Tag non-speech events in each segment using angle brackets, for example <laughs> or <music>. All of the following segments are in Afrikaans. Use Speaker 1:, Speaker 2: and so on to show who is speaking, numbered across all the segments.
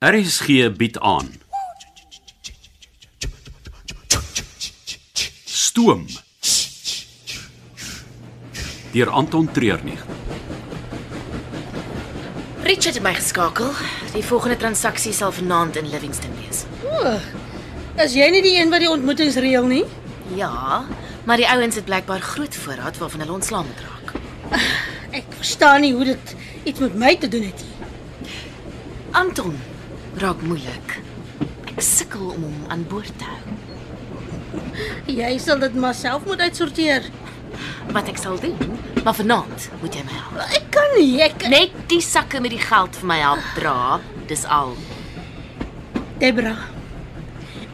Speaker 1: RSG bied aan. Stoom. Deur Anton Treurnig.
Speaker 2: Richard het my geskakel. Die volgende transaksie sal vanaand in Livingston wees.
Speaker 3: O, Is jy nie die een wat die ontmoetings reël nie?
Speaker 2: Ja, maar die ouens het blykbaar groot voorraad waarvan hulle ontslaa moet raak.
Speaker 3: Ek verstaan nie hoe dit iets met my te doen het nie.
Speaker 2: Anton raak moeilik. Ek sukkel om hom aan boord te hou.
Speaker 3: Jy sal dit maar self moet uitsorteer.
Speaker 2: Wat ek sal doen, maar vanaand moet jy my help.
Speaker 3: Ek kan nie. Ek
Speaker 2: Net die sakke met die geld vir my help dra, dis al.
Speaker 3: Debra.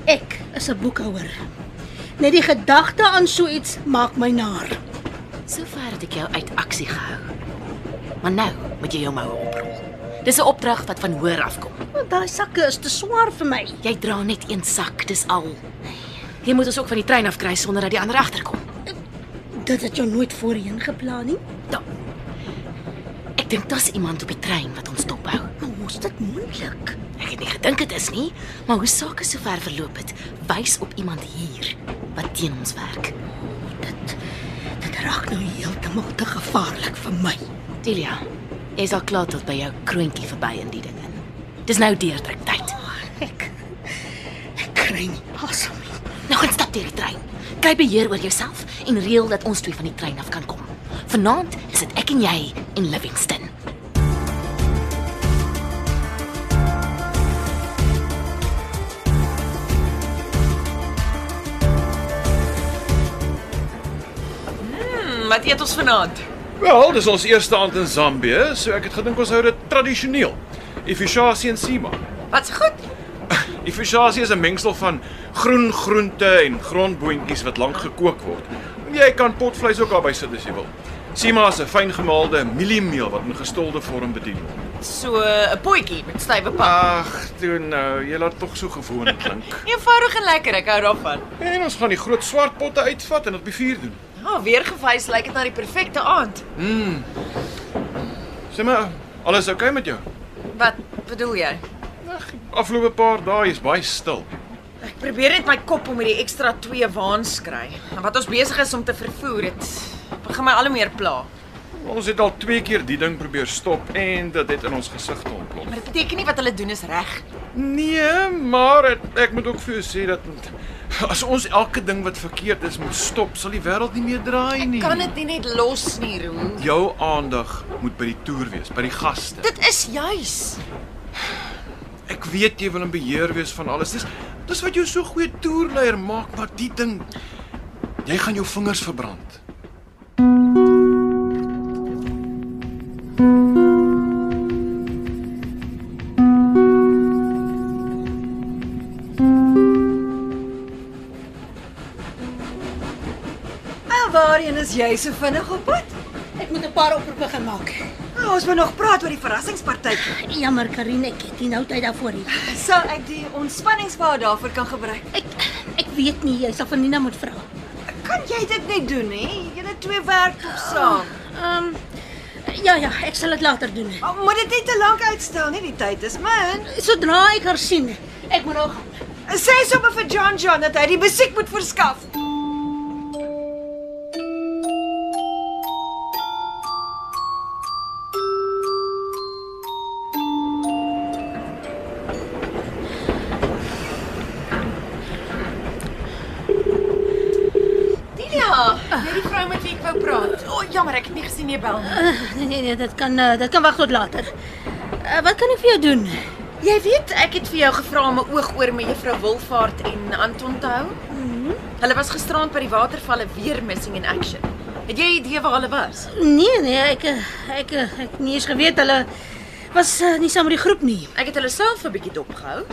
Speaker 3: Ek is 'n boekhouer. Net die gedagte aan so iets maak my naar.
Speaker 2: Sover het ek jou uit aksie gehou. Maar nou moet jy jou moue oprol. Dis 'n opdrag wat van hoër af kom.
Speaker 3: Want daai sakke is te swaar vir my.
Speaker 2: Jy dra net een sak, dis al. Jy moet ons ook van die trein af kry sonder dat die ander agterkom.
Speaker 3: Dit het jou nooit voorheen geplan nie.
Speaker 2: Da. Ek dink daar's iemand op die trein wat ons dophou.
Speaker 3: Maar hoe's dit moontlik?
Speaker 2: Ek het nie gedink dit is nie, maar hoe sake sover verloop het, wys op iemand hier wat teen ons werk.
Speaker 3: Dit dit raak nou heeltemal te gevaarlik vir my.
Speaker 2: Delia, jy's al klaar tot by jou kroontjie verby in die ding in. Dis nou deurdruk tyd.
Speaker 3: Ek ek kry nie asem nie.
Speaker 2: Nou gaan stap deur die trein. Kry beheer oor jouself en reël dat ons twee van die trein af kan kom. Vanaand is dit ek en jy en Livingston.
Speaker 4: Wat eet ons vanaand?
Speaker 5: Wel, dis ons eerste aand in Zambië, so ek het gedink ons hou dit tradisioneel. Ifishasie en sima.
Speaker 4: Wat's goed?
Speaker 5: Ifishasie is 'n mengsel van groen groente en grondboontjies wat lank gekook word. Jy kan potvleis ook daarby sit as jy wil. Sima is 'n fyngemaalde mieliemeel wat in gestolde vorm bedien word.
Speaker 4: So 'n potjie met stywe pap.
Speaker 5: Ag, toe nou, jy laat tog so gewoon
Speaker 6: Ja.
Speaker 5: klink.
Speaker 4: Eenvoudig en lekker, ek hou daarvan.
Speaker 5: <laughs> En ons gaan die groot swart potte uitvat en dit op die vuur doen.
Speaker 4: Ja, oh, weer gewys lyk dit na die perfekte aand.
Speaker 5: Sê maar, alles oukei okay met jou?
Speaker 4: Wat bedoel jy?
Speaker 5: Afgelope paar dae is baie stil.
Speaker 4: Ek probeer net my kop om hierdie ekstra 2 waans kry. En wat ons besig is om te vervoer, dit begin my al hoe meer pla.
Speaker 5: Ons het al twee keer die ding probeer stop en dit het in ons gesigte ontplof.
Speaker 4: Maar dit beteken nie wat hulle doen is reg.
Speaker 5: Nee, maar het, ek moet ook vir jou sê dat as ons elke ding wat verkeerd is moet stop, sal die wêreld nie meer draai nie.
Speaker 4: Kan dit nie net los nie, Roo?
Speaker 5: jou aandag moet by die toer wees, by die gaste.
Speaker 4: Dit is juis.
Speaker 5: Ek weet jy wil in beheer wees van alles. Dis dis wat jou so goeie toerleier maak, maar die ding jy gaan jou vingers verbrand.
Speaker 6: En waarheen is jy so vinnig op pad?
Speaker 3: Ek moet 'n paar oproepe gaan maak.
Speaker 6: Nou, ons moet nog praat oor die verrassingspartytjie.
Speaker 3: Jammer Karin, ek het nie nou tyd daarvoor nie.
Speaker 6: Sal ek die ontspanningspaar daarvoor kan gebruik?
Speaker 3: Ek ek weet nie, jy sal van Nina moet vra.
Speaker 6: Kan jy dit net doen, hè? Julle twee werk tog saam.
Speaker 3: Ehm um, ja ja, ek sal dit later doen.
Speaker 4: Ah.
Speaker 6: Oh, Maar moet dit nie te lank uitstel nie, die tyd is min.
Speaker 3: Sodra ek haar sien, ek moet nou gaan.
Speaker 6: Sê sommer vir John John dat hy die musiek moet verskaf.
Speaker 4: Delia, jy die vrou met wie ek wou praat. O, oh, jammer, ek het nie gesien jy bel nie.
Speaker 3: Uh, nee nee nee, dit kan uh, dit kan wag tot later. Uh, wat kan ek vir jou doen?
Speaker 4: Jy weet, ek het vir jou gevra om 'n oog oor met Juffrou Wilvaart en Anton te hou. Mhm. Hulle was gisteraand by die watervalle weer missing in action. Het jy 'n idee waar hulle was?
Speaker 3: Nee nee, ek eh, ek eh, ek het nie eens geweet hulle was uh, nie saam met die groep nie.
Speaker 4: Ek het hulle self 'n bietjie dopgehou.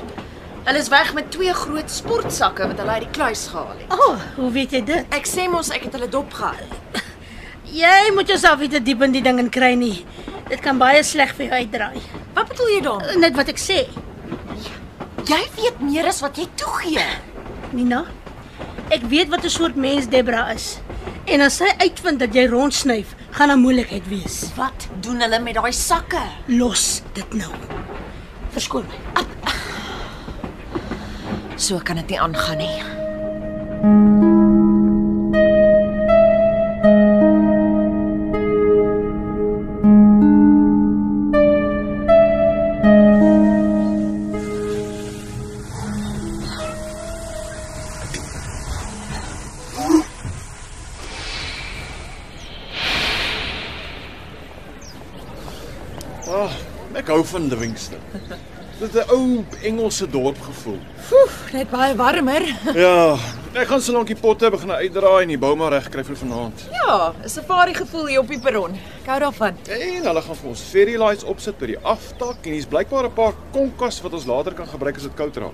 Speaker 4: Hulle is weg met twee groot sportsakke wat hulle uit die kluis gehaal het.
Speaker 3: O, oh, hoe weet jy dit?
Speaker 4: Ek sê mos ek het hulle dopgehou.
Speaker 3: Jy moet jouself nie te diep in die ding in kry nie. Dit kan baie sleg vir jou uitdraai.
Speaker 4: Wat bedoel jy daarmee?
Speaker 3: Eh, Net wat ek sê,
Speaker 4: Jy weet meer as wat jy toegee.
Speaker 3: Nina. Ek weet wat 'n soort mens Debra is. En as sy uitvind dat jy rondsnyf, gaan daar moeilikheid wees.
Speaker 4: Wat doen hulle met daai sakke?
Speaker 3: Los dit nou. Verskoon my.
Speaker 4: Ag, So kan dit nie aangaan nie.
Speaker 5: Ag, Ah, ek hou van Livingston. Dit is 'n ou Engelse dorp gevoel.
Speaker 4: Net baie warmer.
Speaker 5: Ja, ek gaan so lank die potte begin uitdraai en die bou maar reg kry vir vanaand.
Speaker 4: Ja, 'n safari gevoel hier op die perron. Ek hou daarvan.
Speaker 5: En hulle gaan vir ons fairy lights opsit by die aftak en hier's blykbaar 'n paar konkas wat ons later kan gebruik as dit koud raak.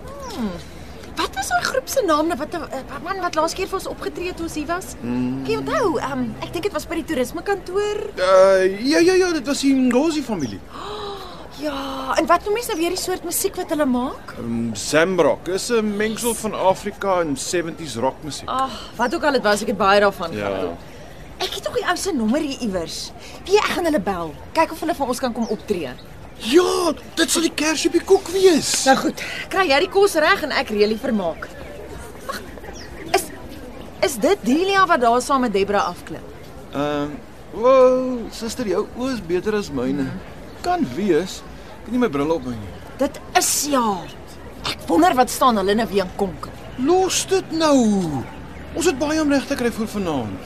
Speaker 4: Wat was daai groep se naam? Wat 'n eh, man wat laas keer vir ons opgetree het toe ons hier was? Mm. Ek onthou, um, ek dink dit was by die toerismekantoor.
Speaker 5: Uh ja ja ja, dit was die Ngozi familie.
Speaker 4: Ja, en wat noem mens nou weer die soort musiek wat hulle maak?
Speaker 5: Um, Sambrock is 'n mengsel van Afrika en 70s rockmusiek.
Speaker 4: Ag, wat ook al dit was, ek het baie daarvan
Speaker 5: Ah, Ja.
Speaker 4: Ek het tog die ou se nommer hier iewers. Wie ek gaan hulle bel. Kyk of hulle vir ons kan kom optree.
Speaker 5: Ja, dit sal die kers op die koek wees.
Speaker 4: Nou goed, kry jy die kos reg en ek reël die vermaak. Wag. Is is dit Delia wat daar saam met Debra afklim?
Speaker 5: Ehm, um, wow, suster, jou oë is beter as myne. Kan wees. Ek het nie my bril op my nie.
Speaker 4: Dit is ja. Ek wonder wat staan hulle nou weer in konkel.
Speaker 5: Los dit nou. Ons het baie om reg te kry vir vanaand.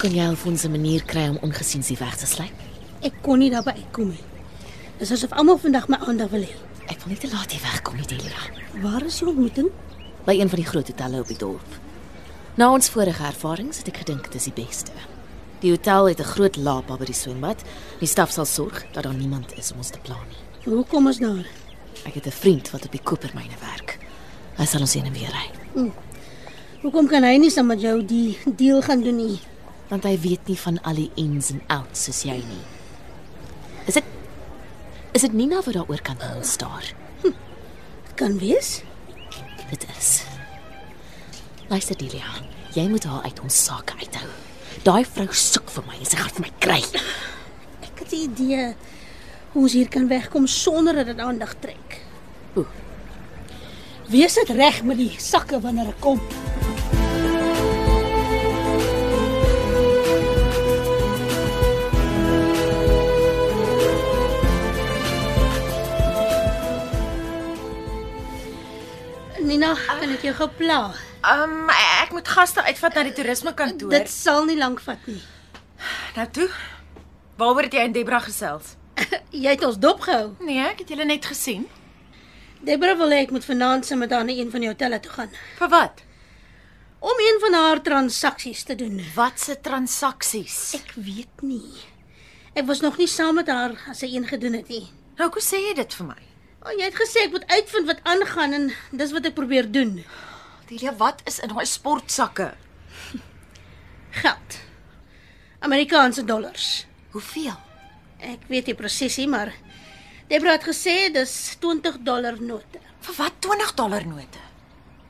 Speaker 2: Kon jy alfons 'n manier kry om ongesiens hier weg te sluip?
Speaker 3: Ek kon nie daarby uitkom nie. Dis asof almal vandag my aandag wil hê.
Speaker 2: Ek wil nie te laat hier wegkom nie, Delia.
Speaker 3: Waar is die ontmoeting?
Speaker 2: By een van die groot hotelle op die dorp. Na ons vorige ervarings het ek gedink dit is die beste. Die hotel het 'n groot laapa by die swembad. Die staf sal sorg dat daar niemand is om ons te pla nie.
Speaker 3: Hoe kom ons daar?
Speaker 2: Ek het 'n vriend wat op die kopermyne werk. Hy sal ons heen en weer ry,
Speaker 3: Hoekom kan hy nie saam met jou die deal gaan doen nie?
Speaker 2: want hy weet nie van al die ins en outs soos jy nie. Is dit Is dit Nina wat daaroor kan instaar?
Speaker 3: Kan wees.
Speaker 2: Dit is. Luister Delia, jy moet haar uit ons sake uithou. Daai vrou soek vir my en sy gaan vir my kry.
Speaker 3: Ek het 'n idee hoe ons hier kan wegkom sonder dat dit aandag trek.
Speaker 2: Oeh.
Speaker 3: Wees dit reg met die sakke wanneer ek kom. Nina, kan ek jou gepla?
Speaker 4: Ehm um, ek moet gaste uitvat na die toerismekantoor.
Speaker 3: Dit sal nie lank vat nie.
Speaker 4: nou toe. Waaroor het jy en Debra gesels?
Speaker 3: Jy het ons dop gehou.
Speaker 4: Nee, ek het julle net gesien.
Speaker 3: Debra wil hê ek moet vanaand saam met haar na een van die hotelle toe gaan
Speaker 4: Vir wat?
Speaker 3: om een van haar transaksies te doen.
Speaker 4: Wat se transaksies?
Speaker 3: Ek weet nie. Ek was nog nie saam met haar as sy een gedoen het nie.
Speaker 4: Nou hoe sê jy dit vir my?
Speaker 3: O, jy het gesê ek moet uitvind wat aangaan en dis wat ek probeer doen.
Speaker 4: Delia, wat is in daai sportsakke?
Speaker 3: Geld. Amerikaanse dollars.
Speaker 4: Hoeveel?
Speaker 3: Ek weet nie presies nie, maar Debra het gesê dis 20 dollar note.
Speaker 4: Vir wat 20 dollar note?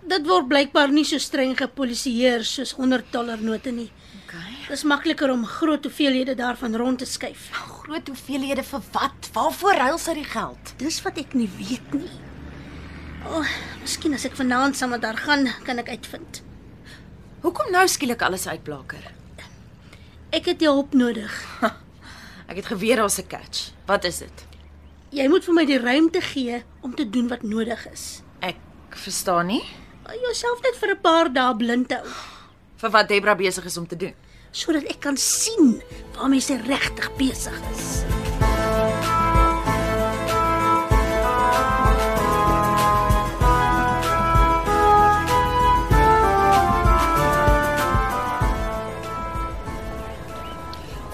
Speaker 3: Dit word blykbaar nie so streng gepolisieer soos 100 dollar note nie.
Speaker 4: Okay.
Speaker 3: Dis makliker om groot hoeveelhede daarvan rond te skuif.
Speaker 4: Groot hoeveelhede vir wat? Waarvoor ruil sy die geld?
Speaker 3: Dis wat ek nie weet nie. O, oh, miskien as ek vanaand saam met haar gaan, kan ek uitvind.
Speaker 4: Hoekom nou skielik alles uitblaker?
Speaker 3: Ek het jou hulp nodig.
Speaker 4: Ek het geweet daar's 'n catch. Wat is dit?
Speaker 3: Jy moet vir my die ruimte gee om te doen wat nodig is.
Speaker 4: Ek verstaan nie.
Speaker 3: Hou Jouself net vir 'n paar dae blind te hou
Speaker 4: Vir wat Debra besig is om te doen.
Speaker 3: sodat ek kan sien waar mense regtig besig is.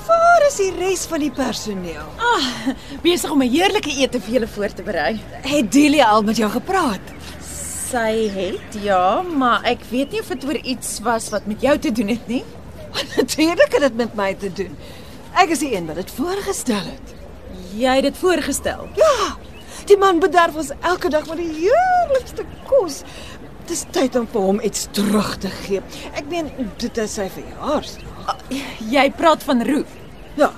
Speaker 6: Waar is die res van die personeel?
Speaker 4: Besig om 'n heerlike ete vir julle voor te berei.
Speaker 6: Het Delia al met jou gepraat?
Speaker 4: Sy het ja, maar ek weet nie of dit oor iets was wat met jou te doen het
Speaker 7: <laughs>
Speaker 4: nie.
Speaker 6: Natuurlik het dit met my te doen. Ek is die een wat dit voorgestel het.
Speaker 4: Jy het dit voorgestel.
Speaker 6: Ah, Ja. Die man bederf ons elke dag met die heerlikste kos. Dit is tyd om vir hom iets terug te gee. Ek meen, dit is sy verjaarsdag.
Speaker 7: Ja. Jy praat van Roof.
Speaker 6: Ja.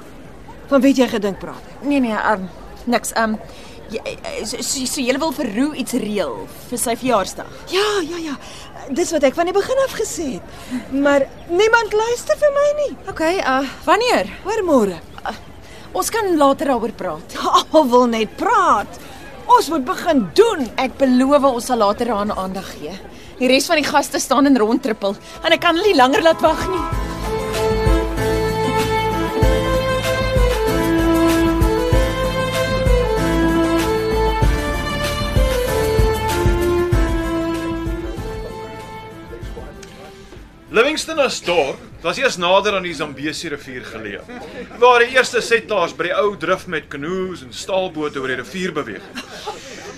Speaker 6: Van weet jy gedink praat ek.
Speaker 7: Nee nee, um, niks. Ehm um, jy- eh, so so, so jy wil vir Roo iets reël vir sy verjaarsdag.
Speaker 6: Ja, ja, ja. Dis wat ek van die begin af gesê het. Maar niemand luister vir my nie.
Speaker 7: Okay, uh wanneer?
Speaker 6: eh, Hoor môre.
Speaker 7: Ons kan later daaroor praat.
Speaker 6: Almal wil net praat. Ons moet begin doen.
Speaker 7: Ek beloof ons sal later daaraan aandag gee. Die res van die gaste staan en rondtrippel en ek kan hulle nie langer laat wag nie.
Speaker 5: Livingston as dorp was eers nader aan die Zambesi rivier geleë, waar die eerste settlers by die ou drif met kanoes en staalbote oor die rivier beweeg het.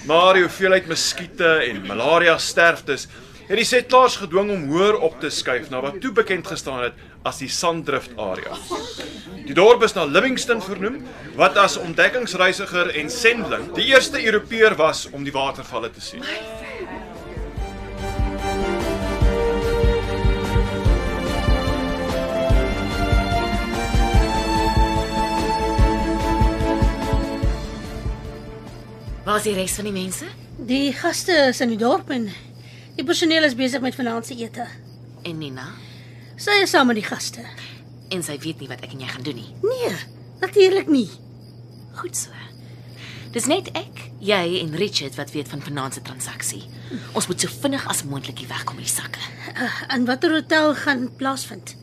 Speaker 5: Maar die hoeveelheid muskiete en malaria sterftes het die settlers gedwing om hoër op te skuif na wat toe bekend gestaan het as die sanddrift area. Die dorp is na Livingston vernoem, wat as ontdekkingsreisiger en sendling die eerste Europeër was om die watervalle te sien.
Speaker 2: Waar is die res van die mense?
Speaker 3: Die gaste is in die dorp en die personeel is besig met vanaand se ete.
Speaker 2: En Nina?
Speaker 3: Sy is saam met die gaste.
Speaker 2: En sy weet nie wat ek en jy gaan doen nie.
Speaker 3: Nee, natuurlik nie.
Speaker 2: Goed so. Dis net ek, jy en Richard wat weet van vanaand se transaksie. Ons moet so vinnig as moontlik hier wegkom met die sakke.
Speaker 3: Ah, In watter hotel gaan plaasvind?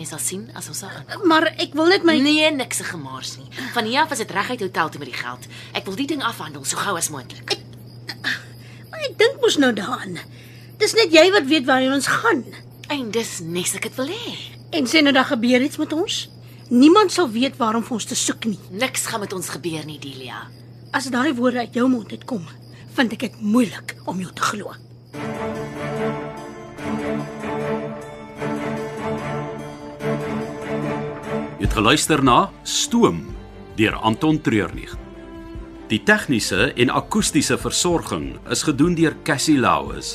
Speaker 2: Jy sal sien as ons daar aankom.
Speaker 3: Maar ek wil net my
Speaker 2: Nee, niks se gemaars nie. Van hier af is dit reguit hotel toe met die geld. Ek wil die ding afhandel so gou as moontlik.
Speaker 3: Maar ek dink mos nou daaraan. Dis net jy wat weet waarheen ons gaan.
Speaker 2: En dis nes ek dit wil hê.
Speaker 3: En sê nou daar gebeur iets met ons. Niemand sal weet waarom vir ons te soek nie.
Speaker 2: Niks gaan met ons gebeur nie, Delia.
Speaker 3: As daai woorde uit jou mond uitkom, vind ek dit moeilik om jou te glo.
Speaker 1: Jy het geluister na Stoom deur Anton Treurnig. Die tegniese en akoestiese versorging is gedoen deur Cassie Lauis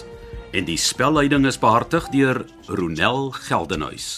Speaker 1: en die spelleiding is behartig deur Ronel Geldenhuys.